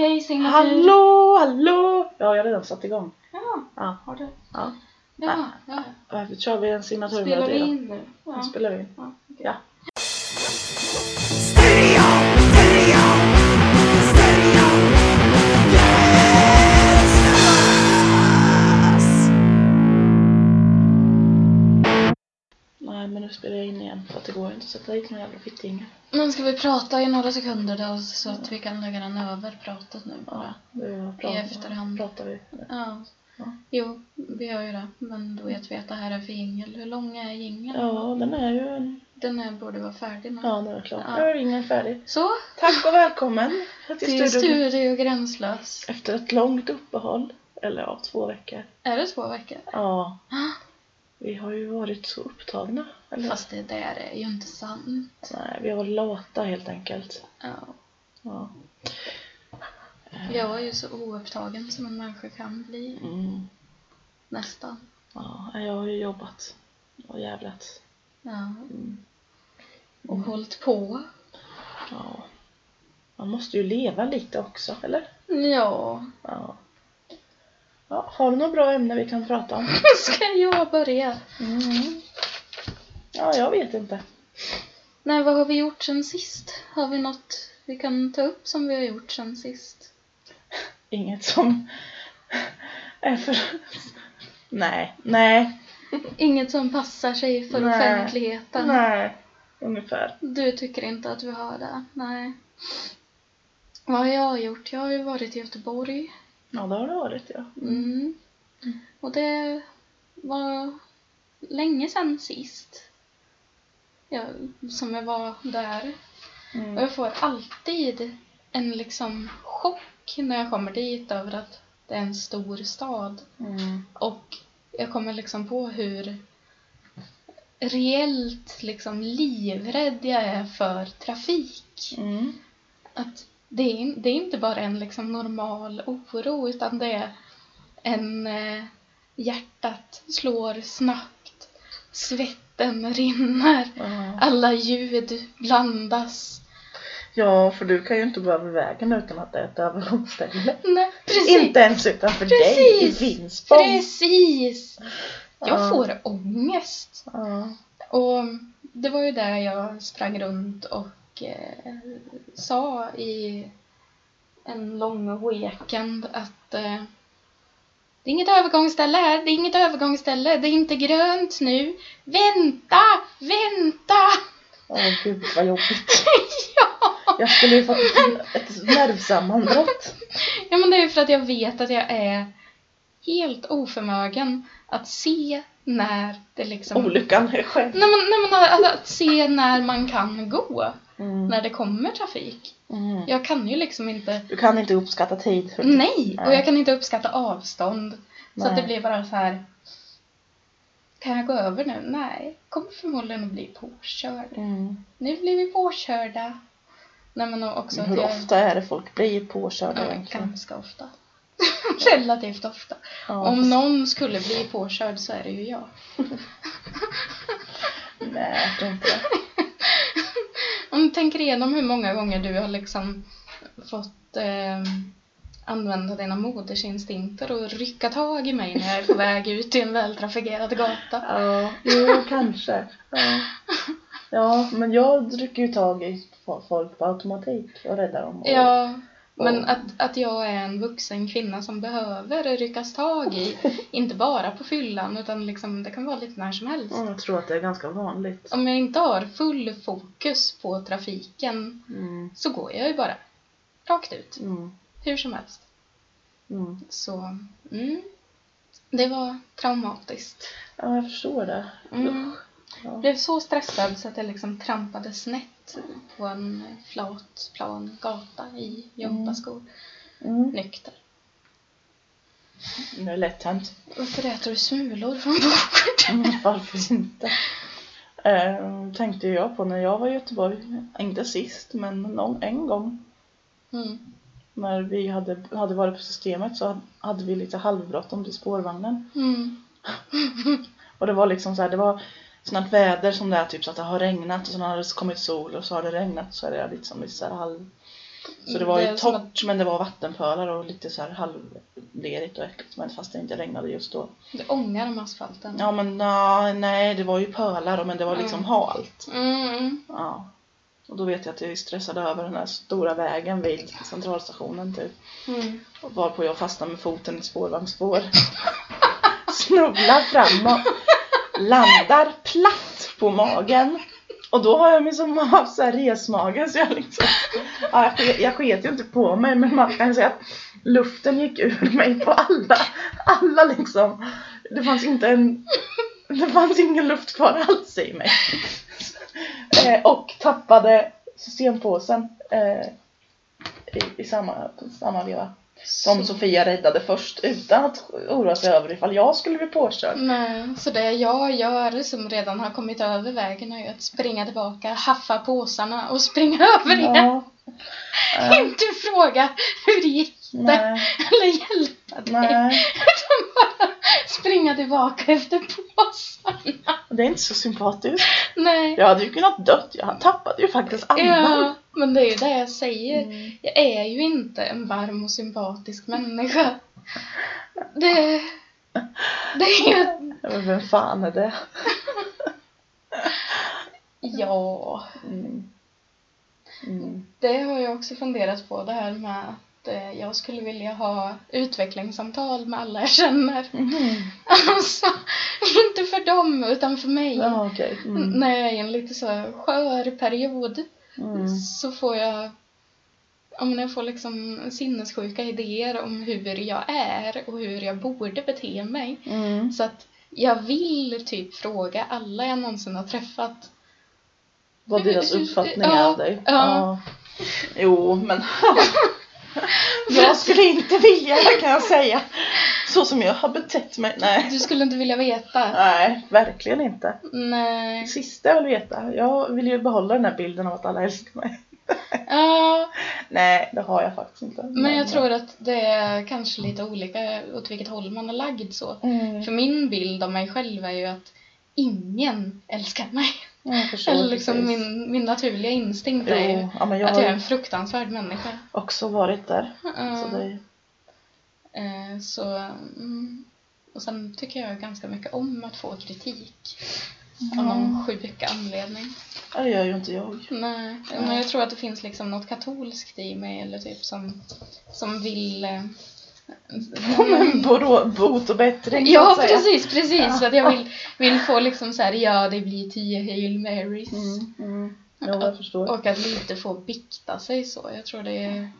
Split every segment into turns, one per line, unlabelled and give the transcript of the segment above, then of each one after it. Hej signatur!
Hallå, hallå! Ja, jag har redan satt igång.
Ja,
Ja,
har du?
ja.
Ja, ja.
Varför kör vi en signaturmelodi
Spelar vi
då?
in nu?
Nu
Ja.
spelar vi in.
Ja.
Ja. Nej, men nu spelar jag in igen för att det går ju inte att sätta dit någon jävla fitting.
Nu ska vi prata i några sekunder då, så att vi kan lägga den över pratet nu
Ja,
bara.
nu pratar,
I efterhand.
pratar vi.
Ja.
Ja.
Jo, vi gör ju det. Men då vet vi att det här är för jingel. Hur lång är jingeln?
Ja, den är ju en...
Den här borde vara färdig nu.
Ja, den är klar.
Ja.
Nu är ringen färdig.
Så,
Tack och välkommen till
till
studion.
Studio Gränslös.
Efter ett långt uppehåll, eller ja, två veckor.
Är det två veckor?
Ja,
Ah,
vi har ju varit så upptagna. Eller?
Fast det där är ju inte sant.
Nej, vi har varit lata helt enkelt.
Ja.
Ja.
Jag var ju så oupptagen som en människa kan bli.
Mm.
Nästan.
Ja, jag har ju jobbat och jävlat.
Ja.
Mm.
Och hållit på.
Ja. Man måste ju leva lite också, eller?
Ja.
Ja. ja har du något bra ämne vi kan prata om?
Ska jag börja?
Mm. Ja, jag vet inte.
Nej, vad har vi gjort sen sist? Har vi något vi kan ta upp som vi har gjort sen sist?
Inget som är för... Nej, nej,
Inget som passar sig för
Nej.
offentligheten?
nej. Ungefär.
Du tycker inte att vi har det? Nej. Vad har jag gjort? Jag har ju varit i Göteborg.
Ja, det har det varit, ja.
Mm. Och det var länge sen sist jag, som jag var där. Och
Mm.
jag får alltid en liksom chock när jag kommer dit över att det är en stor stad.
Mm.
Och jag kommer liksom på hur reellt liksom livrädd jag är för trafik.
Mm.
Att det är, in- det är inte bara en liksom normal oro utan det är en eh, hjärtat slår snabbt, svetten rinner,
Ja.
alla ljud blandas.
Ja, för du kan ju inte gå över vägen utan att det är ett övergångsställe.
Nej, precis.
Inte ens utanför dig i
Precis.
Finspång.
Precis! Jag
Ja.
får ångest.
Ja.
Och det var ju där jag sprang runt och eh, sa i en lång weekend att eh, det är inget övergångsställe här, det är inget övergångsställe, det är inte grönt nu. Vänta, vänta!
Åh gud vad jobbigt.
ja.
Jag skulle ju fått ett- ett nervsammanbrott.
ja, men det är ju för att jag vet att jag är helt oförmögen att se när det liksom...
Olyckan är själv.
Nej men, nej, men alltså, att se när man kan gå,
Mm.
när det kommer trafik.
Mm.
Jag kan ju liksom inte,
Du kan inte uppskatta tid. hörru.
nej! Och jag kan inte uppskatta avstånd. Så att det
Nej.
blir bara så här. Kan jag gå över nu? Nej. Kommer förmodligen att bli påkörd.
Mm.
Nu blir vi påkörda. Nej men och också
Men
att
hur
jag...
ofta är det folk blir påkörda
Ja,
egentligen?
ganska ofta. Relativt ofta.
Ja,
Om
fast-
någon skulle bli påkörd så är det ju jag.
Nej, jag tror inte det.
Om du tänker igenom hur många gånger du har liksom fått eh, använda dina modersinstinkter och rycka tag i mig när jag är på väg ut i en vältrafikerad gata.
Ja, jo kanske. Ja. ja, men jag dricker ju tag i fo- folk på automatik och räddar dem. Och...
Ja, men att, att jag är en vuxen kvinna som behöver ryckas tag i, inte bara på fyllan utan liksom, det kan vara lite när som helst.
Ja, Jag tror att det är ganska vanligt.
Om jag inte har full fokus på trafiken
Mm.
så går jag ju bara rakt ut,
Mm.
hur som helst.
Mm.
Så, mm. Det var traumatiskt.
Ja, jag förstår det.
Mm.
Ja.
Blev så stressad så att jag liksom trampade snett på en flat, plan gata i gympaskor.
Mm.
Nykter.
Nu är det lätt hänt.
Varför äter du smulor från bordet?
Varför inte? Ehm, tänkte jag på när jag var i Göteborg, inte sist men någon, en gång
Mm.
när vi hade, hade varit på systemet så hade- hade vi lite halvbråttom till spårvagnen.
Mm.
Och det var liksom så här, det var sånt väder som det är typ så att det har regnat och sen har det kommit sol och så har det regnat så är det liksom lite så här halv, Så det var
Det
ju
är som
torrt men det var vattenpölar och lite så här halvlerigt och äckligt men fast det inte regnade just då.
Det ångar om asfalten.
Ja men na, nej det var ju pölar och- men det var liksom
Mm.
halt.
Mm, mm.
Ja. Och då vet jag att jag stressade över den här stora vägen vid centralstationen typ.
Mm.
Och varpå jag fastnade med foten i spårvagnsspår. Snubblar framåt. Landar platt på magen. Och då har jag mig som haft så här resmagen så jag liksom... Ja, jag, ske- jag sket ju inte på mig men man kan säga att luften gick ur mig på alla. Alla liksom. Det fanns inte en... Det fanns ingen luft kvar alls i mig. Eh, och tappade systempåsen eh, i, i samma, samma veva. Som
så.
Sofia räddade först utan att oroa sig över ifall jag skulle bli påkörd.
Nej, så det jag gör som redan har kommit över vägen är ju att springa tillbaka, haffa påsarna och springa över igen.
Ja. Eh,
Inte fråga hur det gick
nej,
eller hjälpa dig.
nej.
Utan bara springa tillbaka efter påsarna.
Det är inte så sympatiskt.
Nej.
Jag hade ju kunnat dött. Jag tappade ju faktiskt andan.
Ja, men det är ju det jag säger.
Mm.
Jag är ju inte en varm och sympatisk människa. Det... Det är ju...
Men Vem fan är det?
Ja,
Mm. Mm.
det har jag också funderat på det här med att eh, jag skulle vilja ha utvecklingssamtal med alla jag känner.
Mhm.
Alltså, inte för dem utan för mig.
Ja, okej.
N-
Mm.
När jag är i en lite så här skör period
Mm.
så får jag ja, men jag får liksom sinnessjuka idéer om hur jag är och hur jag borde bete mig.
Mm.
Så att jag vill typ fråga alla jag någonsin har träffat.
Vad deras uppfattning är
Ja,
av dig.
ja.
Jo, men... jag skulle inte vilja det kan jag säga. Så som jag har betett mig. Nej.
Du skulle inte vilja veta?
Nej, verkligen inte. Det
Nej.
sista jag vill veta. Jag vill ju behålla den här bilden av att alla älskar mig.
Ja,
Nej, det har jag faktiskt inte.
men jag tror att det är kanske lite olika åt vilket håll man är lagd så.
Mm,
För min bild av mig själv är ju att ingen älskar mig.
jag förstår
Eller liksom
precis.
min, min naturliga instinkt är ju
Jo, ja, men jag
att jag Mm. är
har
en fruktansvärd människa.
också varit där.
Ja.
Så det,
Eh, Så, mm. och sen tycker jag ganska mycket om att få kritik. Av någon sjuk anledning.
ja, det gör ju inte jag.
Nej, men jag tror att det finns liksom något katolskt i mig eller typ som, som vill... eh,
Men Borå, bot och bättring så
Ja,
att säga.
precis, precis! Att jag vill, vill få liksom så här, ja det blir tio Hail Marys.
Mm, mm. Jo, jag förstår.
Och att lite få bikta sig så. Jag tror det är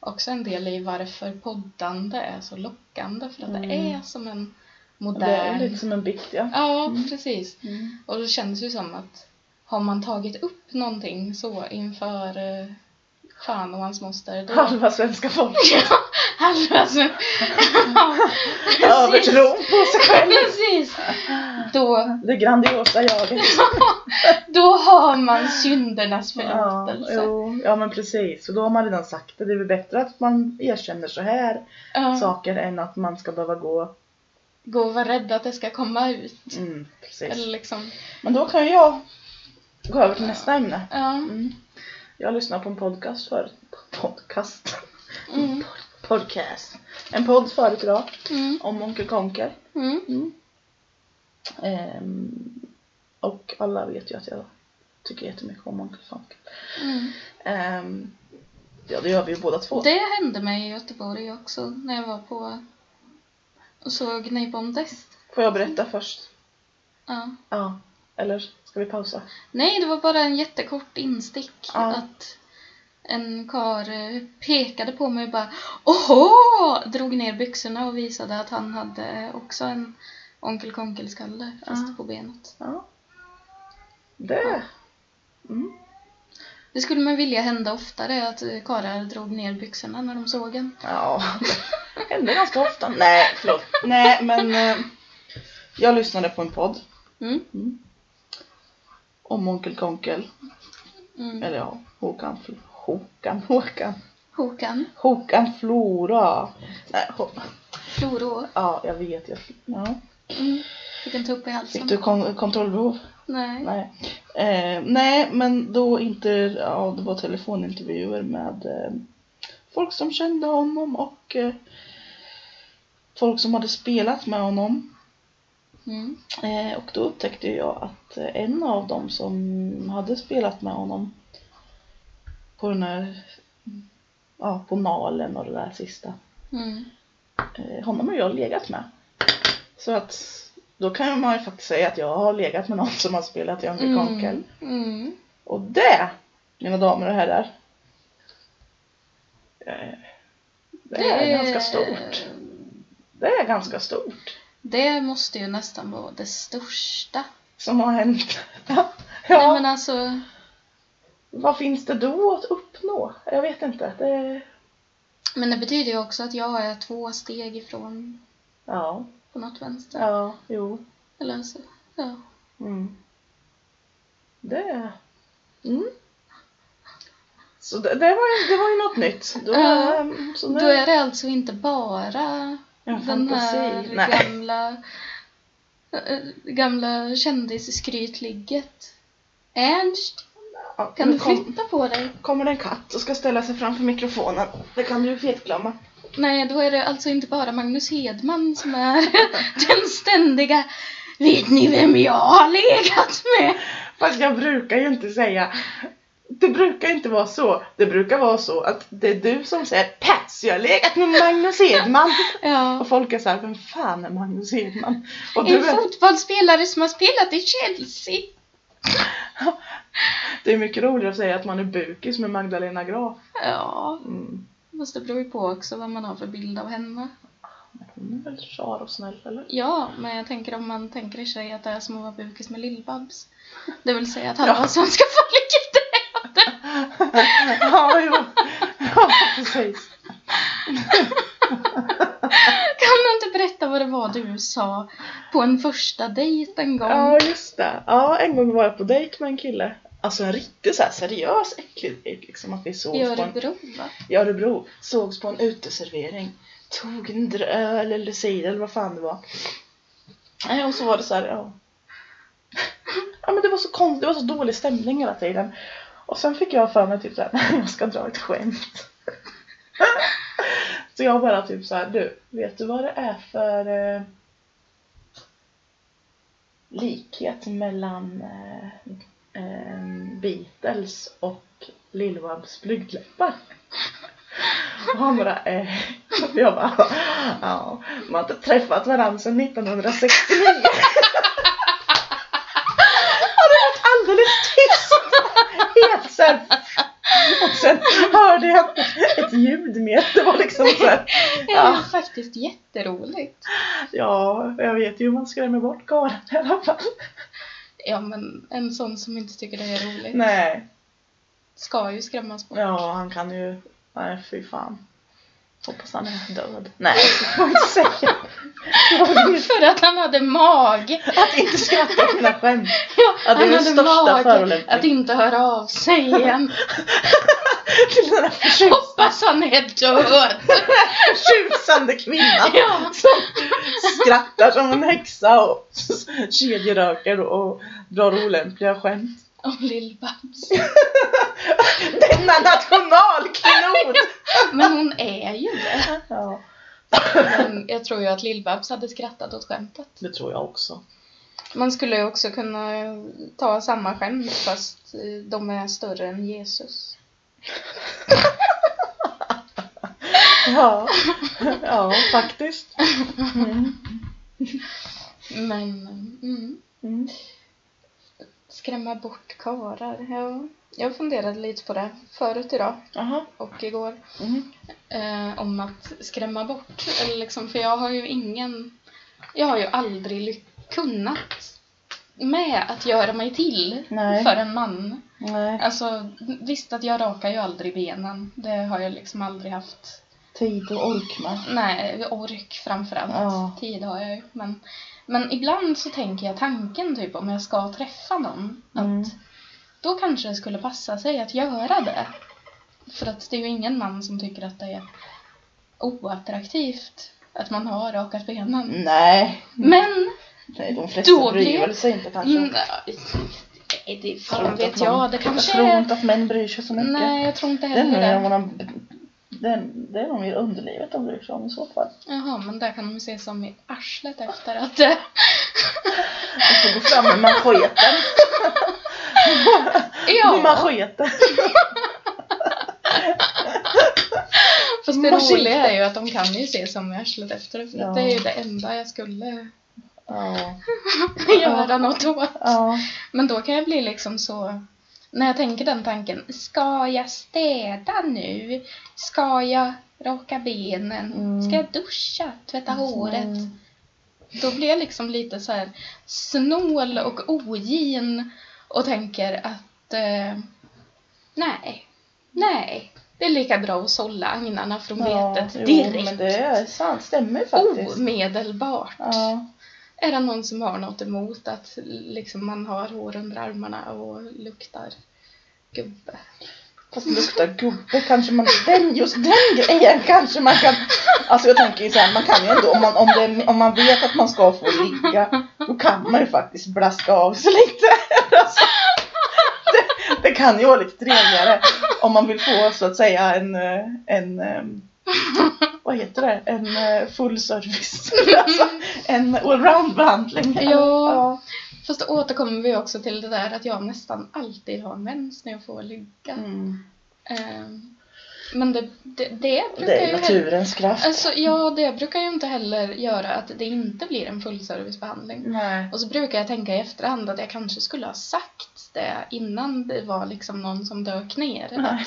också en del i varför poddande är så lockande. För att det
Mm.
är som en
Det är
modern...
lite som en bikt, ja.
Ja,
Mm.
precis.
Mm.
Och det känns ju som att har man tagit upp någonting så inför eh, fan och hans moster, då... alltså.
Halva svenska folket
Halva sven- Ja,
övertron på sig själv.
Precis! Då,
Det grandiosa jaget.
då har man syndernas
Ja,
förlåtelse. Ja,
jo, ja men precis. Och då har man redan sagt det. Det är väl bättre att man erkänner så här saker än att man ska behöva gå.
Gå och vara rädd att det ska komma ut.
Mm, precis.
Eller liksom,
Men då kan ju jag gå över till nästa ämne.
ja.
Mm. Jag lyssnade på en podcast förut. Podcast?
Mm.
Podcast. En podd förut idag
Mm.
om Onkel Konker.
Mm.
Ehm, och alla vet ju att jag tycker jättemycket om Onkel Konker.
Mm.
Ehm, ja, det gör vi ju båda två.
Det hände mig i Göteborg också när jag var på och såg Nej Bondest.
Får jag berätta först?
Ja.
Ja. Eller ska vi pausa?
Nej, det var bara en jättekort instick.
Ja.
Att en kar eh, pekade på mig och bara Åhå! Drog ner byxorna och visade att han hade också en onkel konkelskalle fast
Ja.
på benet.
Ja. Det. Mm.
Det skulle man vilja hända oftare att eh, karlar drog ner byxorna när de såg en.
Ja. Det händer ganska ofta. Nej, förlåt. Nej, men eh, jag lyssnade på en podd
Mm.
om Onkel Konkel.
Mm.
Eller ja, Håkan. Fl- Håkan, Håkan.
Håkan,
Håkan Flora. Nej, Hå-
Florå.
ja, jag vet. Jag, ja.
Mm. Fick en tupp i halsen.
Fick du kon- kontrollbehov?
Nej.
Nej. Eh, nej, men då inte, ja, det var telefonintervjuer med eh, folk som kände honom och eh, folk som hade spelat med honom.
Mm.
Eh, och då upptäckte jag att eh, en av dem som hade spelat med honom på den här, ja, på Nalen och det där sista,
Mm.
eh, honom har jag legat med. Så att då kan man ju faktiskt säga att jag har legat med någon som har spelat i Uncle Konkel.
Mm. Mm.
Och det, mina damer och herrar, eh, det är ganska stort. Det är ganska stort
Det måste ju nästan vara det största.
som har hänt. ja,
Nej men alltså,
vad finns det då att uppnå? Jag vet inte. Det,
men det betyder ju också att jag är två steg ifrån
ja,
på något vänster.
ja, jo.
Eller så, ja.
Mm. Det, mm. Så det, det, var ju, det var ju något nytt. Då,
Ja.
ehm, så nu,
Då är det alltså inte bara
en
den
fantasi.
här
Nej.
gamla, äh, gamla kändisskrytligget. Ernst,
Ja,
kan
nu
du
Mm, kom-
flytta på dig?
kommer en katt och ska ställa sig framför mikrofonen. Det kan du fetglömma.
Nej, då är det alltså inte bara Magnus Hedman som är den ständiga Vet ni vem jag har legat med?
Fast jag brukar ju inte säga... Det brukar inte vara så. Det brukar vara så att det är du som säger Pats, jag har legat med Magnus Hedman.
Ja.
Och folk är såhär, vem fan är Magnus Hedman? Och
En
du är,
fotbollsspelare som har spelat i Chelsea.
det är mycket roligare att säga att man är bukis med Magdalena Graaf.
Ja,
Mm.
fast det beror ju på också vad man har för bild av henne.
Men Hon är väl rar och snäll eller?
Ja, men jag tänker om man tänker sig att det är som att vara bukis med Lill-Babs. Det vill säga att han
Ja.
var svenska folket död.
ja, jo. ja, precis.
Kan du inte berätta vad det var du sa på en första dejt en gång?
Ja, just det. Ja, en gång var jag på dejt med en kille. Alltså en riktigt så här seriös äcklig dejt liksom. Att vi sågs
I
på en
Örebro, va?
i Örebro sågs på en uteservering. Tog en dr- öl eller cider eller vad fan det var. Nej, och så var det så här, ja. Ja men det var så konstigt, det var så dålig stämning hela tiden. Och sen fick jag för mig typ såhär, "Nej, jag ska dra ett skämt. så jag bara typ såhär, du, vet du vad det är för eh, likhet mellan eh, eh, Beatles och Lill-Babs blygdläppar? Och han bara, eh. Och jag bara, ja, man har inte träffat varandra sedan 1969. Och det var alldeles tyst. Helt så här. Och sen hörde jag ett ljud mer. Det var liksom så här,
Det är
Ja.
ju faktiskt jätteroligt.
ja, jag vet ju hur man skrämmer bort karlen i alla fall.
Ja, men en sån som inte tycker det är roligt
Nej,
ska ju skrämmas bort.
ja, han kan ju, nej fy fan. Hoppas han är död. Nej, det får jag inte säga. Jag vill inte
För att han hade mag.
Att inte skratta åt mina skämt.
Ja,
Ja, det
han
är den
hade
största
mag
förolämpningen.
att inte höra av sig igen.
Till den här förtjus-
Hoppas han är död.
förtjusande kvinnan
Ja.
som skrattar som en häxa och kedjeröker och drar olämpliga skämt.
Om Lill-Babs.
Denna nationalklenod!
Men hon är ju det.
Ja,
Men jag tror ju att Lill-Babs hade skrattat åt skämtet.
det tror jag också.
Man skulle ju också kunna ta samma skämt fast eh, de är större än Jesus.
Ja, ja faktiskt. Mm.
Men, mm.
Mm.
Skrämma bort karar. Ja, jag funderade lite på det förut idag
Aha.
och igår.
Mm.
Eh, om att skrämma bort. Eller liksom, för jag har ju ingen... Jag har ju aldrig ly- kunnat med att göra mig till
Nej.
för en man.
Nej,
Alltså, visst att jag rakar ju aldrig benen. Det har jag liksom aldrig haft
tid och ork med.
Nej, ork framförallt.
Ja.
Tid har jag ju. Men, men ibland så tänker jag tanken typ om jag ska träffa någon.
Mm.
Att då kanske det skulle passa sig att göra det. För att det är ju ingen man som tycker att det är oattraktivt att man har rakat
Mm.
benen.
Nej,
Men!
nej, de flesta
Då
bryr
blir-
väl sig inte kanske.
Mm, nej, det
Jag tror
fan
inte
vet
att man-
jag. Det kanske
Jag tror
är...
inte att män bryr sig så mycket.
Nej, jag tror inte
Det är
heller
nu när
det.
man har b- Det är, det är nog mer underlivet de bryr sig om i så fall.
Jaha, men där kan de ju se som i arslet efter att... eh,
Jag får gå fram med manscheten. Med
ja!
manscheten.
Fast det
Machete.
roliga är ju att de kan ju se som i arslet efter för
Ja.
att det är ju det enda jag skulle
Ja.
göra något åt.
ja.
Men då kan jag bli liksom så... När jag tänker den tanken, ska jag städa nu? Ska jag raka benen?
Mm.
Ska jag duscha? Tvätta håret?
Mm.
Då blir jag liksom lite så här snål och ogin och tänker att eh, nej, nej, det är lika bra att sålla agnarna från vetet
jo, men
direkt. Oh.
det är sant. Stämmer ju faktiskt.
Omedelbart.
Ja.
Är det någon som har något emot att liksom man har hår under armarna och luktar gubbe?
Fast luktar gubbe kanske man, den, just den grejen kanske man kan, alltså jag tänker ju såhär, man kan ju ändå, om man, om, det, om man vet att man ska få ligga, då kan man ju faktiskt blaska av sig lite. Alltså, det, det kan ju vara lite trevligare om man vill få så att säga en, eh, en eh, vad heter det, en eh, full service, alltså en allround-behandling.
Ja. Fast då återkommer vi också till det där att jag nästan alltid har mens när jag får ligga.
Mm.
Ehm, Men det, det, det brukar
Det är
ju heller,
naturens kraft.
alltså, ja, det brukar ju inte heller göra att det inte blir en fullservicebehandling.
Nej.
Och så brukar jag tänka i efterhand att jag kanske skulle ha sagt det innan det var liksom någon som dök ner.
Nej.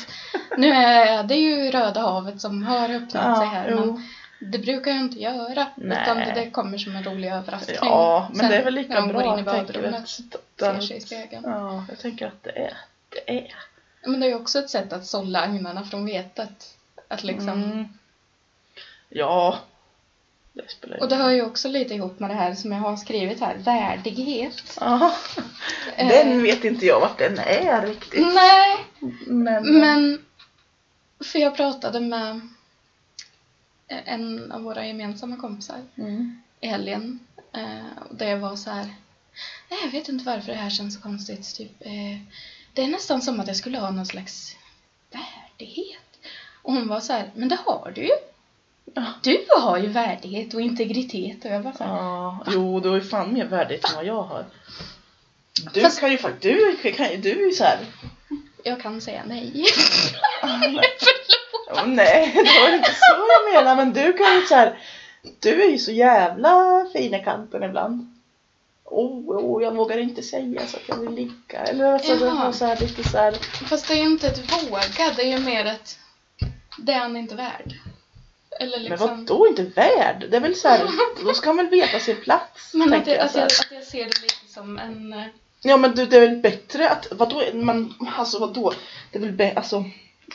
Nu är det ju Röda havet som har öppnat sig här,
jo.
men det brukar jag inte göra.
Nej.
Utan det, det kommer som en rolig överraskning.
Ja, men
Alltså, sen
det är väl lika
när de
bra.
går in i
jag tänker
badrummet
att-
ser
att-
sig i spegeln.
Ja, jag tänker att det är. Det är.
Men det är ju också ett sätt att sålla agnarna från vetet. Att liksom
Mm. Ja. Det spelar ju
Och det hör ju också lite ihop med det här som jag har skrivit här, värdighet.
Ja.
Eh,
Den vet inte jag vart den är riktigt.
Nej,
Men,
men... För jag pratade med en av våra gemensamma kompisar
Mm.
i helgen. eh, Och det var så här... Nej, jag vet inte varför det här känns så konstigt. Typ, eh, det är nästan som att jag skulle ha någon slags värdighet. Och hon var så här, men det har du ju.
Ja.
Du har ju värdighet och integritet. Och jag bara så här,
Ja, jo, du har ju fan mer värdigt än vad jag har. Du
Fast-
kan ju faktiskt, du kan ju, du är ju såhär.
jag kan säga nej.
Ja, nej, det var inte så jag menar, men du kan ju såhär, du är ju så jävla fin i kanten ibland. Oh, oh, jag vågar inte säga så att jag vill ligga. Eller alltså, det
Jaha.
var så här lite såhär,
Fast det är ju inte ett våga, det är ju mer ett det är han inte värd. Eller
men
liksom...
vadå inte värd? Det är väl såhär, då ska man väl veta sin plats,
Men att
tänker
jag,
jag,
att,
så här.
jag, att jag ser det lite som en... eh,
Ja men du, det är väl bättre att, vadå, man, alltså vadå, det är väl bättre, alltså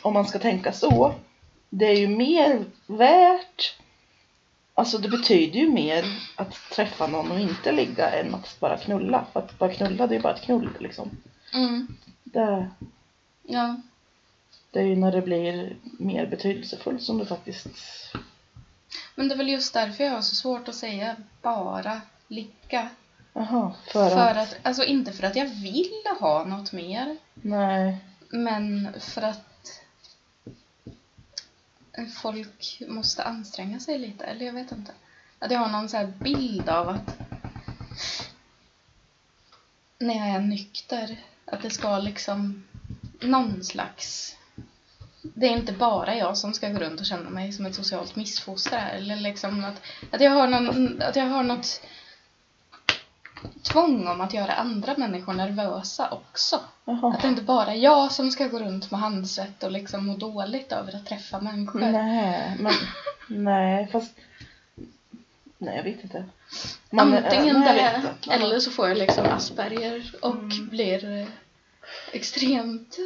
om man ska tänka så, det är ju mer värt, alltså det betyder ju mer att träffa någon och inte ligga än att bara knulla, för att bara knulla det är ju bara ett knull liksom.
Mm,
Det,
ja.
det är ju när det blir mer betydelsefullt som du faktiskt,
Men det är väl just därför jag har så svårt att säga bara ligga.
jaha, för,
För,
att,
att... Alltså inte för att jag vill ha något mer,
nej,
men för att folk måste anstränga sig lite. Eller jag vet inte. Att jag har någon så här bild av att när jag är nykter, att det ska liksom någon slags... Det är inte bara jag som ska gå runt och känna mig som ett socialt missfoster här, eller liksom att, att, jag har någon, att jag har något tvång om att göra andra människor nervösa också.
jaha,
Att det inte bara är jag som ska gå runt med handsvett och liksom må dåligt över att träffa människor.
Mm. nej, men, nej, fast, nej jag vet inte.
Antingen
nej, jag vet
det,
inte.
eller så får jag liksom Asperger och
Mm.
blir eh, extremt...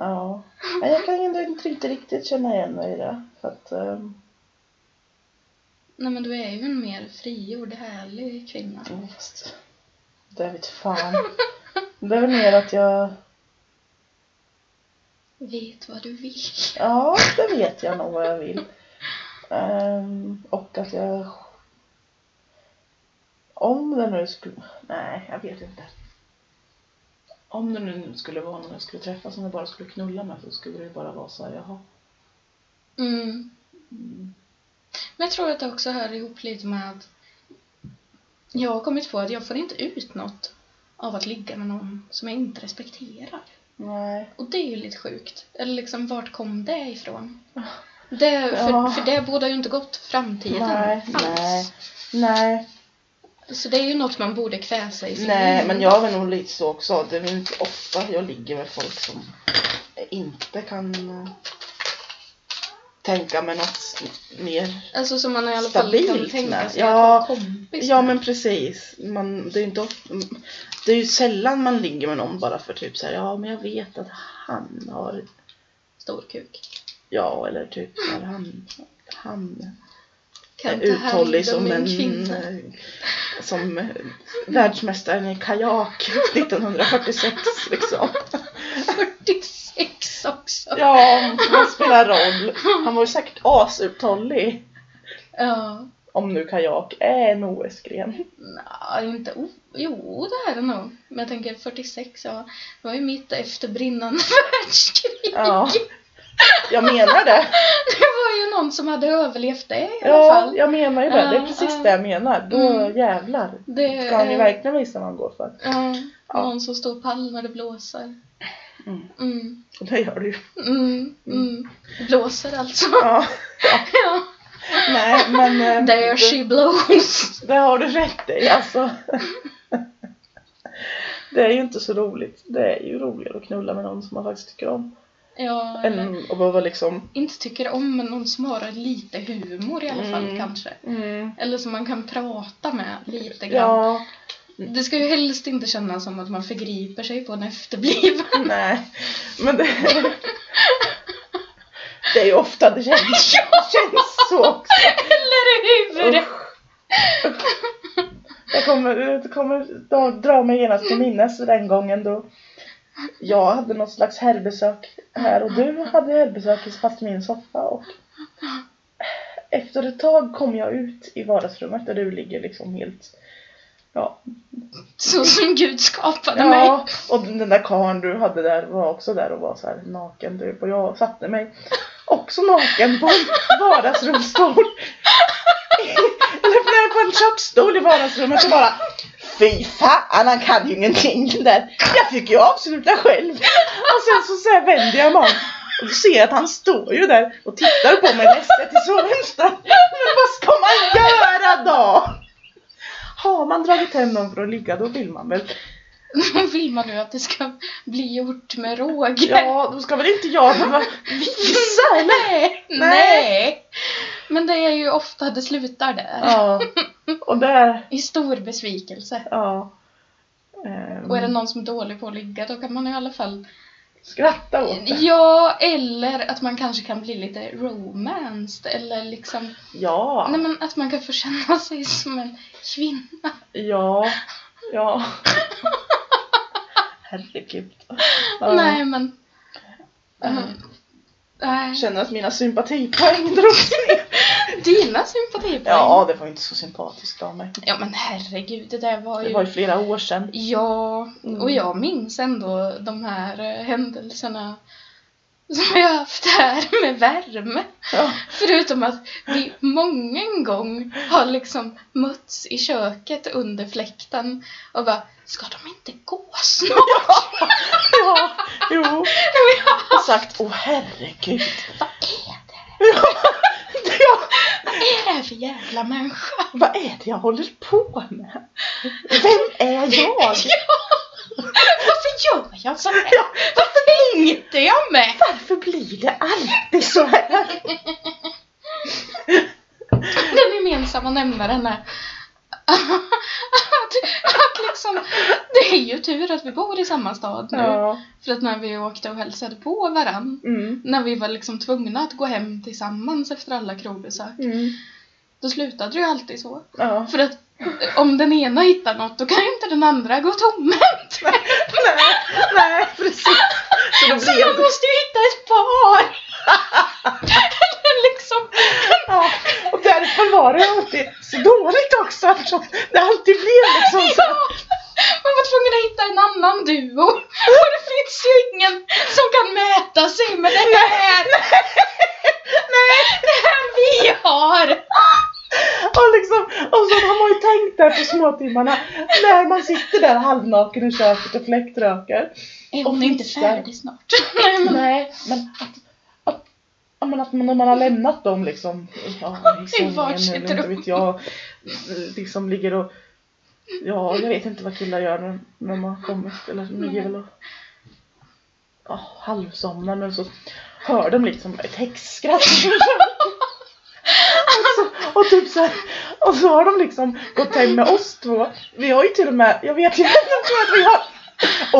Ja, men jag kan ändå inte riktigt- riktigt känna igen mig i det. För att, ehm,
Nej men du är ju en mer frigjord, härlig kvinna.
jo, fast det vet fan. Det är väl mer att jag,
Vet vad du vill.
ja det vet jag nog vad jag vill. Ehm, och att jag, om det nu skulle, nej jag vet inte. Om det nu skulle vara någon jag skulle träffa som jag bara skulle knulla med så skulle det bara vara så här, jaha.
Mm. Men jag tror att det också hör ihop lite med att jag har kommit på att jag får inte ut något av att ligga med någon som jag inte respekterar.
Nej.
Och det är ju lite sjukt. Eller liksom, vart kom det ifrån? Det, för,
Ah. Ja.
för det borde ju inte gått framtiden
Nej,
alls.
nej, nej.
Så det är ju något man borde kväsa i sin
Nej,
egen-
men jag är nog lite så också. Det är väl inte ofta jag ligger med folk som inte kan eh, tänka mig något mer
Alltså som man i alla fall kan
Stabilt
tänka
med.
sig
Ja,
att vara kompis
Ja
med.
men precis. Man, det, är ju inte of- mm, det är ju sällan man ligger med någon bara för typ så här, ja men jag vet att han har,
Stor kuk.
ja eller typ så här, han, han
Kan
är
ta hand om
uthållig som en,
kvinna.
eh, som eh, världsmästaren i kajak 1946 liksom.
46 också.
Ja, han spelar roll. Han var ju säkert asuthållig.
Ja.
Om nu kajak är en OS-gren.
Nja, inte o... Jo, det är det nog. Men jag tänker 46, ja. Det var ju mitt efter brinnande världskrig.
Ja. Jag menar det.
Det var ju någon som hade överlevt det i alla
Ja,
fall.
jag menar ju det. det
Ja,
är precis
ja.
det jag menar. Då
Mm.
jävlar.
Det
Ska han ju
är-
verkligen visa vad han går för.
Ja,
Ja.
någon som står pall när det blåser.
Mm.
Mm.
Och det gör du ju.
Mm. Mm. Det blåser alltså.
Ja.
Ja.
Nej, men eh,
There
det,
she blows.
det har du rätt i alltså. Det är ju inte så roligt. Det är ju roligare att knulla med någon som man faktiskt tycker om.
Ja, eller
Än att behöva liksom...
inte tycker om men någon som har lite humor i alla fall
Mm.
kanske. Eller som man kan prata med lite grann.
Ja,
Det ska ju helst inte kännas som att man förgriper sig på en efterbliven.
nej. Men det... Det är ju ofta det känns, känns så också.
Eller hur?
Usch. Jag kommer, jag kommer dra, dra mig genast till minnes den gången då jag hade något slags herrbesök här och du hade herrbesök i fast min soffa och efter ett tag kom jag ut i vardagsrummet där du ligger liksom helt ja,
Så som Gud skapade mig.
ja och den där karln du hade där var också där och var så här naken typ och jag satte mig också naken på en vardagsrumsstol eller nej, på en köksstol i vardagsrummet och bara Fy fan, han kan ju ingenting den där. Jag fick ju avsluta själv. Och sen så, så här vänder jag mig om och då ser jag att han står ju där och tittar på mig ledset till så vänster. Men vad ska man göra då? Har man dragit hem någon för att ligga då vill man väl.
Då vill man nu att det ska bli gjort med råge.
Ja, då ska väl inte jag behöva visa eller?
Nej. Nej. Men det är ju ofta det slutar där.
Ja, och där,
I stor besvikelse.
ja. Ehm,
Och är det någon som är dålig på att ligga då kan man i alla fall
skratta åt det.
Ja, eller att man kanske kan bli lite romanced eller liksom
Ja,
Nej men att man kan få känna sig som en kvinna.
ja, ja. Herregud. Ja.
Nej men
Ehm,
nej.
Känner att mina sympatipoäng drogs ner.
dina sympatipoäng.
Ja, det var inte så sympatiskt av mig.
ja men herregud, det där var ju...
Det var ju flera år sedan.
Ja,
Mm.
och jag minns ändå de här eh, händelserna som vi har haft här med värme.
Ja.
Förutom att vi många en gång har liksom mötts i köket under fläkten och bara Ska de inte gå snart?
ja, jo. Och sagt, åh herregud.
Vad är det?
Ja,
Vad är det här för jävla människa?
vad är det jag håller på med? Vem är jag?
Varför gör jag så här?
Ja,
Varför tänkte jag med?
Varför blir det alltid så här?
Den gemensamma nämnaren är att, att liksom, det är ju tur att vi bor i samma stad nu.
Ja.
För att när vi åkte och hälsade på varann,
Mm.
när vi var liksom tvungna att gå hem tillsammans efter alla krogbesök,
Mm.
då slutade det ju alltid så.
Ja.
För att eh, om den ena hittar något, då kan ju inte den andra gå tomhänt.
Nej, nej, precis. Så då
Så
blev
man
det...
måste ju hitta ett par! Eller liksom,
Ja. Och Alltså, därför var det alltid så dåligt också. eftersom Det alltid blev liksom så. här.
Man var tvungen att hitta en annan duo. Och det finns ju ingen som kan mäta sig med det här. Nej. Det här vi har.
Och, liksom, och så har man ju tänkt där på småtimmarna när man sitter där halvnaken i köket och fläktröker.
Är
Och
hon inte
fixar.
färdig snart? Nej, men
Nej, men att, att, ja, men att man, när man har lämnat dem liksom ja, i sängen
varsitt
eller inte
rum.
vet jag, liksom ligger och Ja, jag vet inte vad killar gör när, när man har kommit, eller de ligger väl och ja, halvsomnar men så hör de liksom ett häxskratt Och typ så här, och så har de liksom gått hem med oss två. Vi har ju till och med, jag vet inte, jag tror att vi har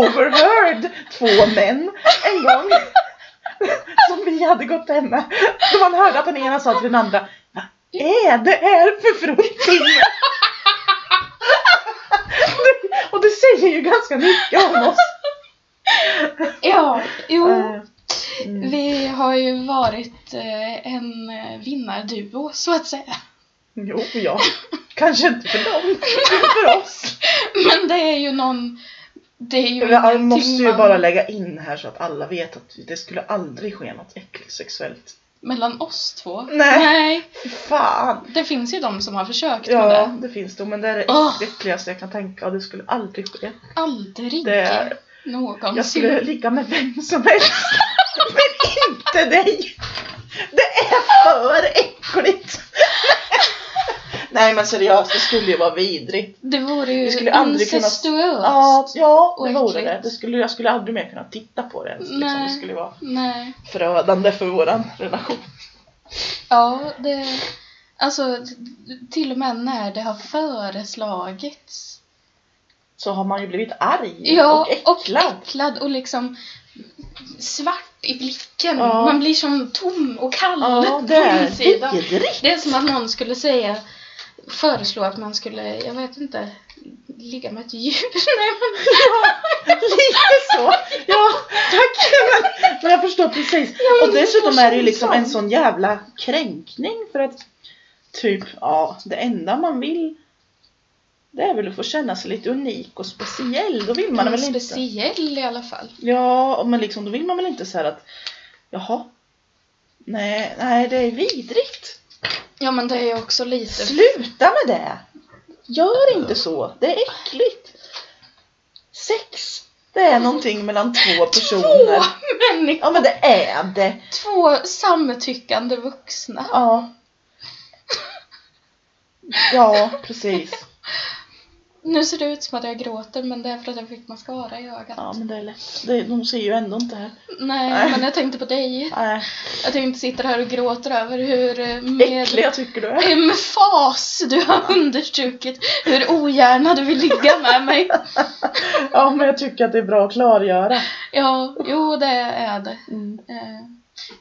overheard två män en gång. Som vi hade gått hem med. Så man hörde att den ena sa till den andra, vad är det här för fruntimmer? Och det säger ju ganska mycket om oss.
Ja, jo.
Eh, mm.
Vi har ju varit eh, en eh, vinnarduo så att säga.
Jo, ja. Kanske inte för dem, men för oss.
Men det är ju någon... Det är ju
Jag
ingenting
måste ju
man-
bara lägga in här så att alla vet att det skulle aldrig ske något äckligt sexuellt.
Mellan oss två?
Nej.
Nej.
Fy fan!
Det finns ju de som har försökt med
Ja,
det.
det finns det. Men det är det
Åh.
äckligaste jag kan tänka och det skulle aldrig ske.
Aldrig
Det är,
någonsin.
jag skulle ligga med vem som helst. Men inte dig! Det är för äckligt! Nej men seriöst, det skulle ju vara vidrigt.
Det vore
Vi
ju
skulle aldrig kunna-
incestuöst.
Ja, ja
Och
det vore det.
äckligt.
det skulle, jag skulle aldrig mer kunna titta på det ens. Liksom. Det
Nej.
skulle vara
Nej.
förödande för våran relation.
Ja, det... Alltså, till och med när det har föreslagits.
så har man ju blivit arg
Ja,
och äcklad.
äcklad och liksom svart i blicken.
Ja.
Man blir som tom och kall
ja, det
på
är
insidan.
vidrigt.
Det är som att någon skulle säga, föreslå att man skulle, jag vet inte, ligga med ett djur. Nej, men,
Lite så. Ja, tack. Men, men jag förstår precis.
Ja, men
och
det
dessutom
förstår
är det ju liksom
jag.
en sån jävla kränkning för att typ, ja, det enda man vill det är väl att få känna sig lite unik och speciell. Då vill man
man är
väl inte.
speciell i alla fall.
Ja, och men liksom då vill man väl inte säga att jaha, nej, nej, det är vidrigt.
Ja, men det är också lite...
Sluta med det! Gör inte så, det är äckligt. Sex, det är någonting mellan två personer.
Två människor!
Ja men det är det.
Två samtyckande vuxna.
Ja. Ja, precis.
Nu ser det ut som att jag gråter, men det är för att jag fick mascara i ögat.
Ja men det är lätt. Det, de ser ju ändå inte här.
Nej,
Nej.
men jag tänkte på dig.
Nej,
Att jag inte sitter här och gråter över hur eh, med
äckliga tycker du är.
emfas du har understrukit hur ogärna du vill ligga med mig.
Ja men jag tycker att det är bra att klargöra.
Ja, jo det är det.
Mm.
Eh,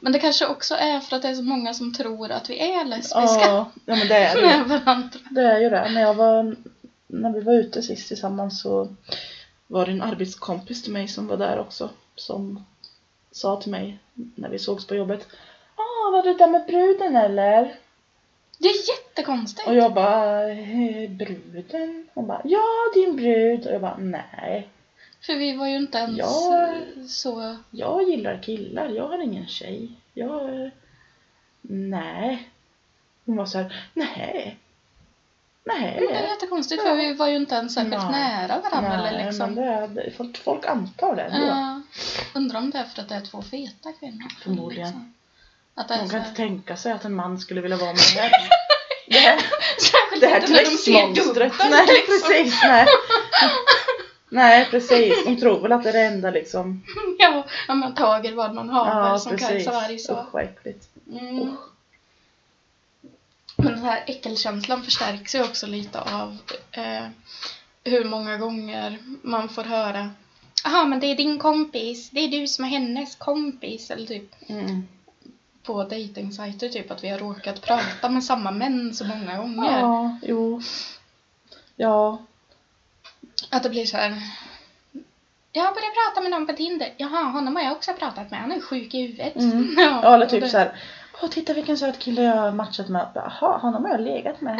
Men det kanske också är för att det är så många som tror att vi är lesbiska
Ja, ja men det är det.
med varandra.
Det är ju det. När, jag var, när vi var ute sist tillsammans så var det en arbetskompis till mig som var där också. Som sa till mig när vi sågs på jobbet. Ah, var du där med bruden eller?
Det är jättekonstigt.
Och jag bara, "Eh, bruden? Hon bara, ja din brud. Och jag bara, nej.
För vi var ju inte ens
Ja.
eh, så...
Jag gillar killar, jag har ingen tjej. Jag, eh, nej. Hon var så här, nej. Nej.
Men det är jättekonstigt för vi var ju inte ens särskilt
Nej.
nära varandra eller liksom.
men det är, det- folk, folk antar det ändå.
Ja. Undrar om det är för att det är två feta kvinnor. liksom.
Förmodligen.
Att det är
De
så
kan inte
här,
tänka sig att en man skulle vilja vara med det här. Det här,
särskilt
det här
inte när de ser
tvättmonstret.
dubbelt.
Nej,
liksom.
precis. Nej. nej, precis. De tror väl att det är det enda liksom.
Ja, ja, man tager vad man har
Ja,
som
precis.
Kajsa Warg sa.
Usch vad äckligt.
Mm. Men den här äckelkänslan förstärks ju också lite av eh, hur många gånger man får höra Jaha, men det är din kompis, det är du som är hennes kompis. Eller typ
Mm.
på dejtingsajter, typ att vi har råkat prata med samma män så många gånger.
Ja, jo. Ja,
Att det blir så här. Jag började prata med någon på Tinder. Jaha, honom har jag också pratat med. Han är sjuk i huvudet.
Mm.
Ja,
ja eller
och
typ
det-
så här. Åh, titta vilken söt kille jag har matchat med. Jaha, honom har jag legat med.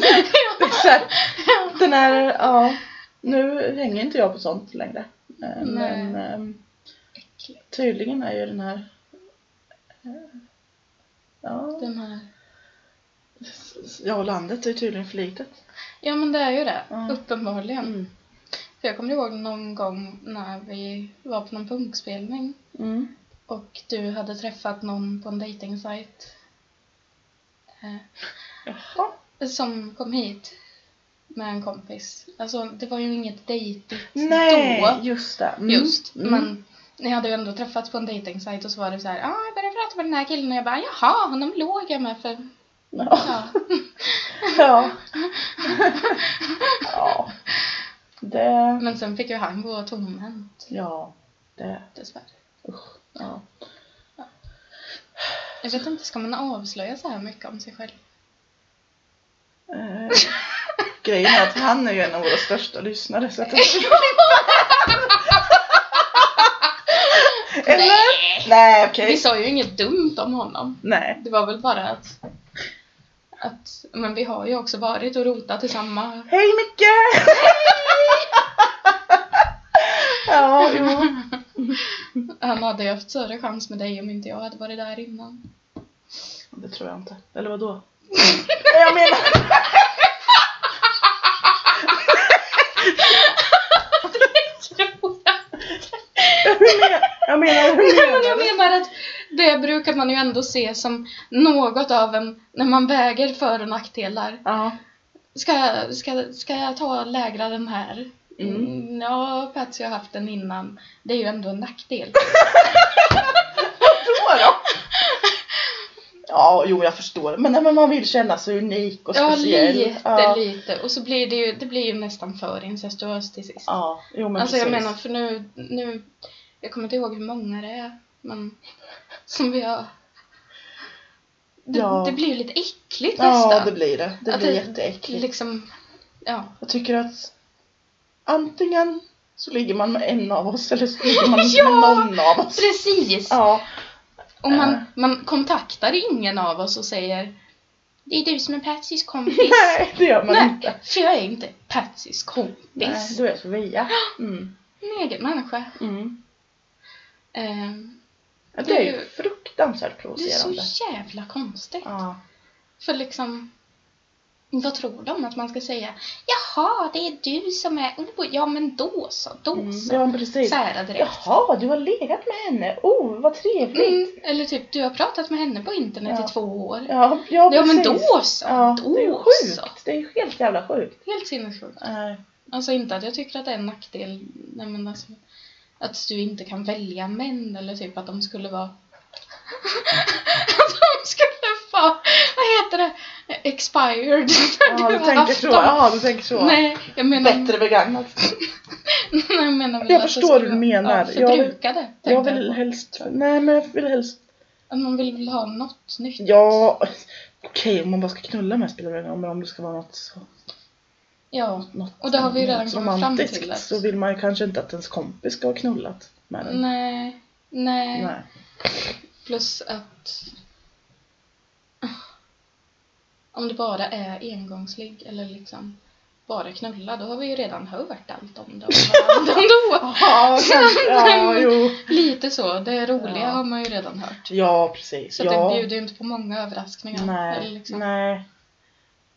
Det är så här, den här, ja. Nu hänger inte jag på sånt längre. Eh,
Nej.
Men ehm,
Äckligt.
tydligen är ju den här eh, Ja,
Den här.
ja och landet är tydligen för litet.
Ja men det är ju det,
Ja.
uppenbarligen.
Mm.
För jag kommer ihåg någon gång när vi var på någon punkspelning
Mm.
och du hade träffat någon på en dejtingsajt eh,
Jaha.
som kom hit med en kompis. Alltså det var ju inget dejtigt
Nej,
då
just det. Mm.
just,
Mm.
men ni hade ju ändå träffats på en dejtingsajt och så var det så här, ja ah, jag började prata med den här killen och jag bara jaha, honom låg jag med för,
Ja.
ja.
ja. ja. Det...
Men sen fick ju han gå tomhänt
Ja. Det...
dessvärre.
Usch. Ja.
Jag vet inte, ska man avslöja så här mycket om sig själv?
Eh, grejen är att han är ju en av våra största lyssnare så att... Eller?
Nej!
Nej okej.
Vi sa ju inget dumt om honom.
Nej.
Det var väl bara att, att men vi har ju också varit och rotat i samma...
Hej Micke! ja, jo.
Han hade ju haft större chans med dig om inte jag hade varit där innan.
Det tror jag inte. Eller vad då? jag menar... Hur men- jag menar, hur
Nej, men
menar
jag
du?
menar att det brukar man ju ändå se som något av en, när man väger för och nackdelar.
Ja.
Ska, jag- ska, jag- ska jag ta och lägra den här?
Mm.
Mm, ja, Patsy har haft den innan. Det är ju ändå en nackdel.
Då då? Ja, jo jag förstår. Men, nej, men man vill känna sig unik och
Ja,
speciell.
lite,
ja.
lite. Och så blir det ju, det blir ju nästan för incestuöst till sist.
Ja, jo men
alltså
precis.
jag menar, för nu, nu, jag kommer inte ihåg hur många det är, men som vi har. Det,
Ja.
det blir ju lite äckligt
Ja,
nästan.
det blir det. Det
Att
blir
det-
jätteäckligt.
Liksom, ja.
Jag tycker att antingen så ligger man med en av oss eller så ligger man
Ja!
med någon av oss.
Precis!
Ja,
Och man,
Eh.
man kontaktar ingen av oss och säger Det är du som är Patsys kompis.
nej det gör man inte.
Nej, för jag är inte Patsys
Nej,
kompis.
du är Sofia. Mm.
En egen människa.
Mm.
Ehm,
Ja, det är ju fruktansvärt
det är
provocerande.
så jävla konstigt.
Ja.
För liksom, vad tror de att man ska säga? Jaha, det är du som är... Oh, ja, men då så, då
Mm.
så.
Ja, men precis.
Så här direkt.
Jaha, du har legat med henne. Oh, vad trevligt.
Mm, eller typ, du har pratat med henne på internet
Ja.
i två år. Ja,
Ja, ja, precis.
men då så,
Ja,
då
det är ju
så.
sjukt. Det är ju helt jävla sjukt.
Helt sinnessjukt.
Eh,
Alltså inte att jag tycker att det är en nackdel, nej men alltså, att du inte kan välja män eller typ att de skulle vara att de skulle vara, vad heter det, expired när
Ja, du
har
tänker
haft
så.
dem.
Ja, du tänker så.
Nej, jag menar,
Bättre begagnat.
nej, jag menar väl
Jag
att det
förstår
skulle
hur du
vara-
menar.
Ja,
Jag vill-
förbrukade, tänkte
Jag
jag
vill
på.
helst... Nej, men jag vill helst
Att Man vill väl ha något nytt.
Ja, okej om man bara ska knulla med spelar det ingen roll, men om det ska vara något så...
Ja.
Något
Och det har vi ju redan
något
kommit fram
romantiskt
till att-
så vill man ju kanske inte att ens kompis ska ha knullat med den.
Nej, nej.
Mm. Nej.
Plus att om det bara är engångsligg eller liksom bara knulla, då har vi ju redan hört allt om det och varandra ändå.
Ja, kanske, ja,
Nej,
jo.
Lite så, det roliga
Ja.
har man ju redan hört.
Ja, precis.
Så
ja.
det bjuder ju inte på många överraskningar.
Nej,
eller liksom.
nej.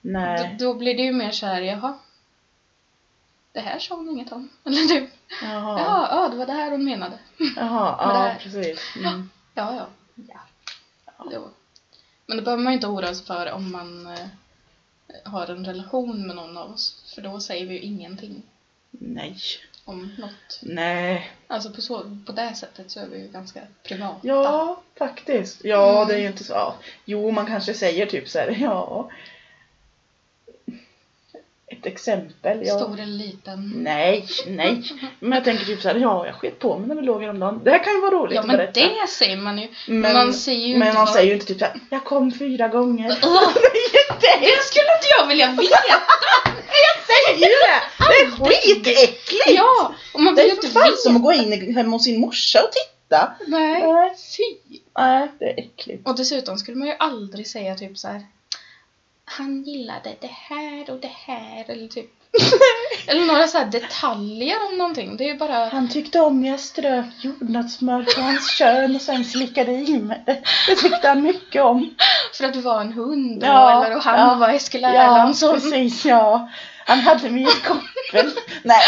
Nej.
Då, då blir det ju mer såhär, jaha. Det här sa hon inget om. Eller du,
Jaha. Jaha,
ja, ja, det var det här hon menade.
ja,
Men det här-
precis. Mm.
Ja, ja. ja. Jo. Men det behöver man ju inte oroa sig för om man eh, har en relation med någon av oss. För då säger vi ju ingenting
Nej.
om något.
Nej.
Alltså på, så, på det sättet så är vi ju ganska privata.
Ja, faktiskt. Ja,
Mm.
det är ju inte så... Ja. Jo, man kanske säger typ så här, ja... Ett exempel. Ja. Mm.
Stor eller liten.
Nej, nej. Men jag tänker typ såhär, ja jag sket på mig när vi låg häromdagen. Det här kan ju vara roligt
Ja
att
men
berätta.
det säger man ju.
Men-
man säger ju
Men
inte
man
vad-
säger ju inte typ såhär, jag kom fyra gånger.
Ugh. Det skulle inte jag vilja veta!
jag säger ju det! Det är skitäckligt!
ja! Och man
Det
vill ju
är
inte
för fan
veta.
som att gå in i- hemma hos sin morsa och titta.
Nej.
Nej,
Fy!
nej det är äckligt.
Och dessutom skulle man ju aldrig säga typ så här. Han gillade det här och det här eller typ Eller några så här detaljer om någonting. Det är bara...
Han tyckte om när jag strök jordnötssmör på hans kön och sen slickade i mig det. Det tyckte han mycket om.
För att du var en hund och,
Ja,
eller, och han
ja,
var Eskil
Ja,
Erlandsson.
precis ja. Han hade mig i ett koppel. Nej,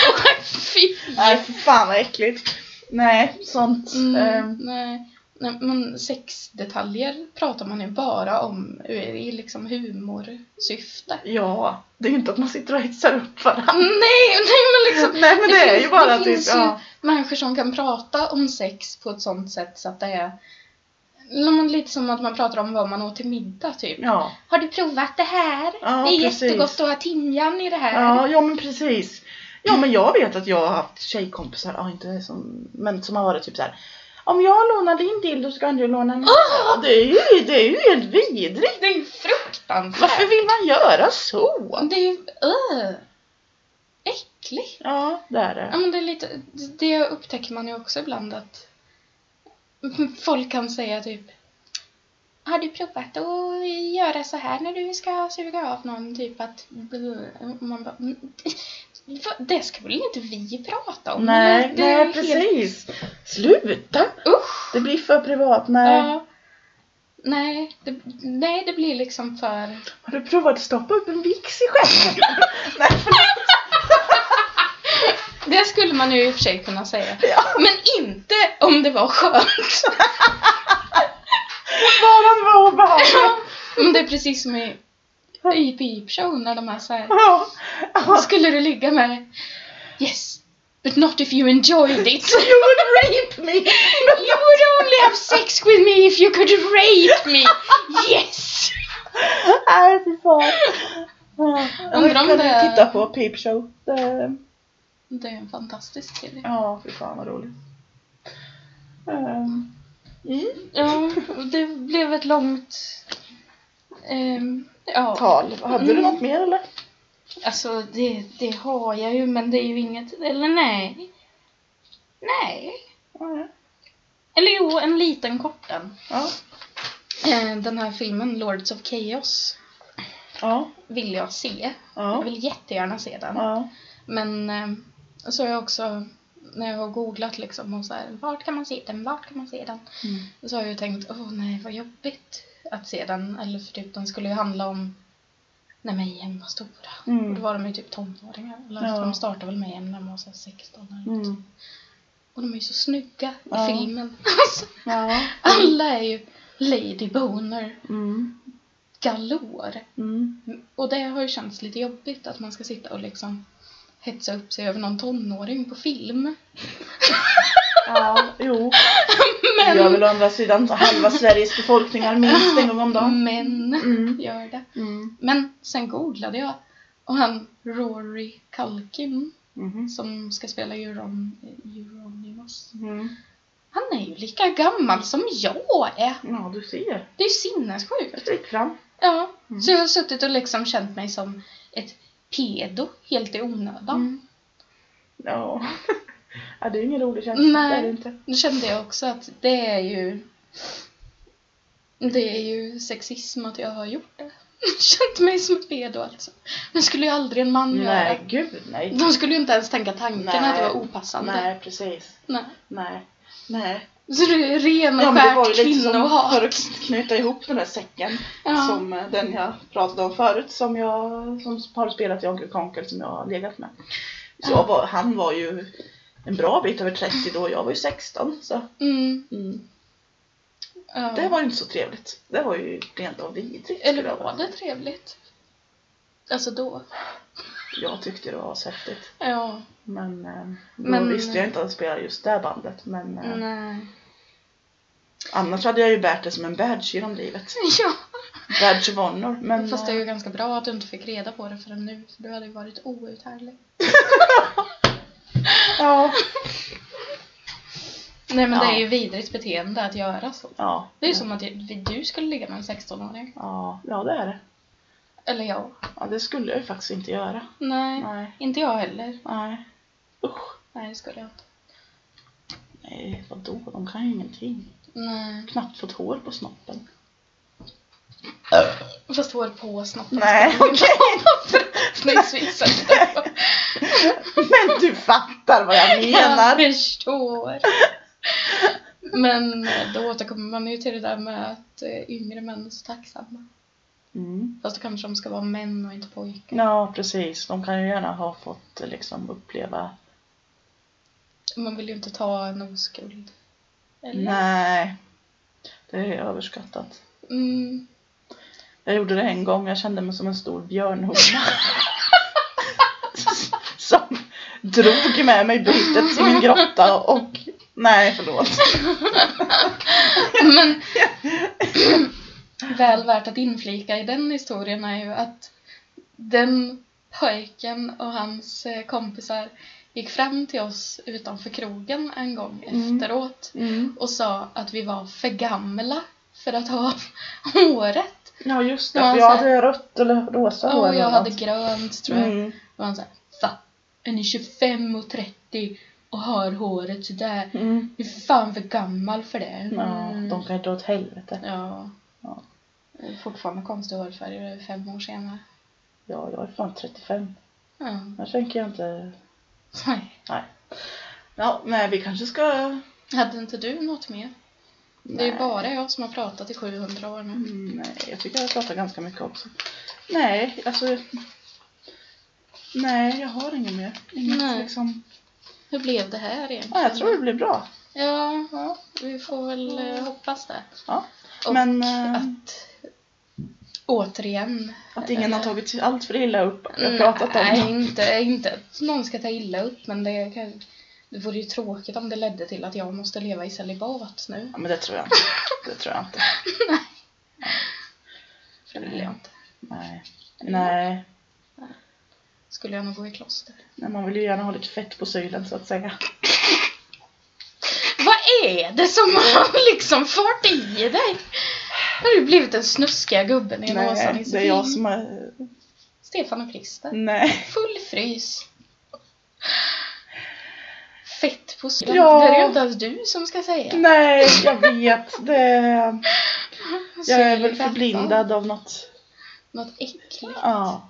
Fy!
nej för fan vad äckligt. Nej, sånt.
Mm,
ehm,
nej. nej, men sexdetaljer pratar man ju bara om ur- i liksom humorsyfte. Ah,
ja, det är ju inte att man sitter och hetsar upp varandra.
Nej, nej men liksom.
Nej men det, är
finns-
ju bara
det
typ,
finns ju
ja.
människor som kan prata om sex på ett sånt sätt så att det är eller men lite som att man pratar om vad man åt till middag typ.
Ja,
Har du provat det här?
Ja,
det är
precis.
jättegott att ha timjan i det här.
ja, ja men precis. Ja men jag vet att jag har haft tjejkompisar, ja inte som, men som har varit typ så här. Om jag lånar din dildo ska du låna min.
Åh!
Det är ju, det är ju helt vidrigt.
Det är ju fruktansvärt.
Varför vill man göra så?
Det är ju öh, äckligt.
Ja, det är
Ja,
det.
men det, är lite, det upptäcker man ju också ibland att folk kan säga typ Har du provat att göra så här när du ska suga av någon? Typ att och man bara, "Mm, det- Det ska väl inte vi prata om?
Nej,
Det är
nej
helt-
precis. Sluta!
Usch!
Det blir för privat. Nej.
Ja. Nej det, nej, det blir liksom för...
Har du provat att stoppa upp en vix i stjärten? nej, förlåt.
Det skulle man ju i och för sig kunna säga.
Ja.
Men inte om det var skönt!
Bara det var obehagligt.
Men det är precis som i i Peep Show när de är så här.
Ja. Ja.
Skulle du ligga med Yes, but not if you enjoyed it.
You would rape me!
You would only have sex with me if you could rape me. Yes!
Nej, fy fan. Ja.
Undrar om
kan
det-
du titta på Peep Show. Det...
Det är en fantastisk serie.
Ja, fy fan vad roligt. Ehm, Mm.
Ja, det blev ett långt... ehm, ja,
Tal. Hade du
Mm.
något mer eller?
alltså det, det har jag ju men det är ju inget... Eller nej. Nej.
Nej.
Eller jo, en liten korten.
Ja.
Eh, Den här filmen, Lords of Chaos,
Ja.
vill jag se. Jag
Ja.
vill jättegärna se den.
Ja.
Men eh, så har jag också, när jag har googlat liksom och så här, vart kan man se den, vart kan man se den?
Mm.
Så har jag ju tänkt, åh nej vad jobbigt att se den. Eller för typ den skulle ju handla om när Mayhem var stora.
Mm.
Och då var de ju typ tonåringar. Eller
Ja.
de startade väl Mayhem när de var så här 16 eller något.
Mm.
Och de är ju så snygga i
Ja.
filmen. Alltså,
Ja.
Alla är ju Lady Boner
Mm.
galore.
Mm.
Och det har ju känts lite jobbigt att man ska sitta och liksom hetsa upp sig över någon tonåring på film.
Ja, jo.
Men,
Jag vill å andra sidan halva Sveriges befolkning har minst en gång om dagen.
men
Mm.
gör det.
Mm.
Men sen googlade jag och han Rory Culkin som ska spela Euron, Euronymous.
Mm.
Han är ju lika gammal som jag är.
Ja, du ser.
Det är ju sinnessjukt.
Strick fram.
Ja.
Mm.
Så jag har suttit och liksom känt mig som ett pedo helt i onödan.
Mm. Ja. ja, det är ingen rolig känsla.
Nej.
Det är det inte.
Nu kände jag också att det är ju det är ju sexism att jag har gjort det. Jag Känt mig som ett pedo alltså. Det skulle ju aldrig en man
Nej, gud nej.
göra. De skulle ju inte ens tänka tanken
Nej.
att det var opassande. Nej.
Nej, precis. Nej. Nej.
Så det är ren och
Ja, men det var
skär
ju lite som för
kvinnohat.
att knyta ihop den där säcken.
Ja.
Som eh, den jag pratade om förut som jag som har spelat i Onkel Konkel som jag har legat med. Så jag var, han var ju en bra bit över 30 då, jag var ju 16 så
Mm,
mm.
ja.
det var ju inte så trevligt. Det var ju rent av vidrigt.
Eller
skulle jag
var
vara.
det trevligt? Alltså då.
Jag tyckte det var svettigt.
Ja.
Men, eh, då
Men- Mm.
visste jag inte att jag spelade just det bandet men eh,
Nej.
annars hade jag ju bärt det som en badge genom livet.
Ja.
Badge of honor. Men,
Fast det är
eh,
ju ganska bra att du inte fick reda på det förrän nu. För du hade ju varit outhärdlig.
ja,
Nej men det är
Ja.
ju vidrigt beteende att göra så.
ja,
Det är ju som att jag- du skulle ligga med en 16-åring.
ja, ja det är det.
Eller jag.
Ja, det skulle jag ju faktiskt inte göra.
Nej,
Nej.
inte jag heller.
Nej. Usch.
Nej, det skulle jag inte.
Nej, vadå? De kan ju ingenting.
Nej.
Knappt fått hår på snoppen.
Fast hål på snoppen.
Nej, okej.
Snyggsvitsad.
Men du fattar vad jag
Jag
menar.
förstår. Men eh, då återkommer man ju till det där med att eh, yngre män är så tacksamma.
Mm.
Fast då kanske de ska vara män och inte pojkar.
Ja, precis. De kan ju gärna ha fått liksom uppleva
Man vill ju inte ta en oskuld. Eller?
Nej, det är överskattat.
Mm.
Jag gjorde det en gång, jag kände mig som en stor björnhona. som drog med mig bytet till min grotta och... Nej, förlåt.
Men väl värt att inflika i den historien är ju att den pojken och hans eh, kompisar gick fram till oss utanför krogen en gång
Mm.
efteråt och sa att vi var för gamla för att ha håret.
Ja, just det.
Ja,
För
så
jag
här-
hade rött eller rosa hår.
Och jag
eller
hade
något.
grönt tror jag.
mm.
Och han såhär, va? Är ni 25 och 30 och har håret sådär?
Mm.
Du är fan för gammal för det.
Ja,
Mm.
de kan dra åt helvete.
Ja.
Ja.
Det är Fortfarande konstig hårfärg, det är fem år senare.
Ja, jag är fan 35.
Ja.
Jag tänker jag inte...
Nej.
Nej. Ja, men vi kanske ska...
Hade inte du något mer? Det är ju
Nej.
bara jag som har pratat i 700 år nu.
Mm, Nej, jag tycker jag pratar ganska mycket också. Nej, alltså... Nej, jag har inget mer. Inget
Nej.
liksom...
Hur blev det här egentligen?
Ja, jag tror det blir bra.
Ja, vi får väl eh, hoppas det.
Ja.
Och
Men eh,
att återigen...
att ingen har tagit sig allt för illa upp. Jag har
Mm,
pratat om
Nej,
det.
inte, inte att någon ska ta illa upp, men det, kan, det vore ju tråkigt om det ledde till att jag måste leva i celibat nu.
Ja, men det tror jag inte. Det tror jag inte.
För det vill
Mm.
jag inte.
Nej. Nej.
Skulle jag nog gå i kloster.
Nej, man vill ju gärna ha lite fett på sylen så att säga.
Vad är det som har liksom fart i dig? Har du blivit den snuskiga gubben i en åsa
Nej, det är jag som är...
Stefan och Christer.
Nej.
Full frys. Fett på sidan.
Ja.
Det är ju inte ens du som ska säga.
Nej, jag vet. Det... Jag är väl
Sylvetta.
förblindad av något.
Något äckligt.
Ja.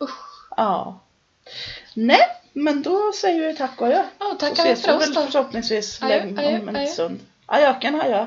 Usch.
Ja. Nej, men då säger vi tack och adjö.
Ja,
Och
tackar
ses
för
vi
oss
väl
då.
förhoppningsvis
Adjö,
länge
adjö,
om en
adjö.
stund. Ajöken, adjö.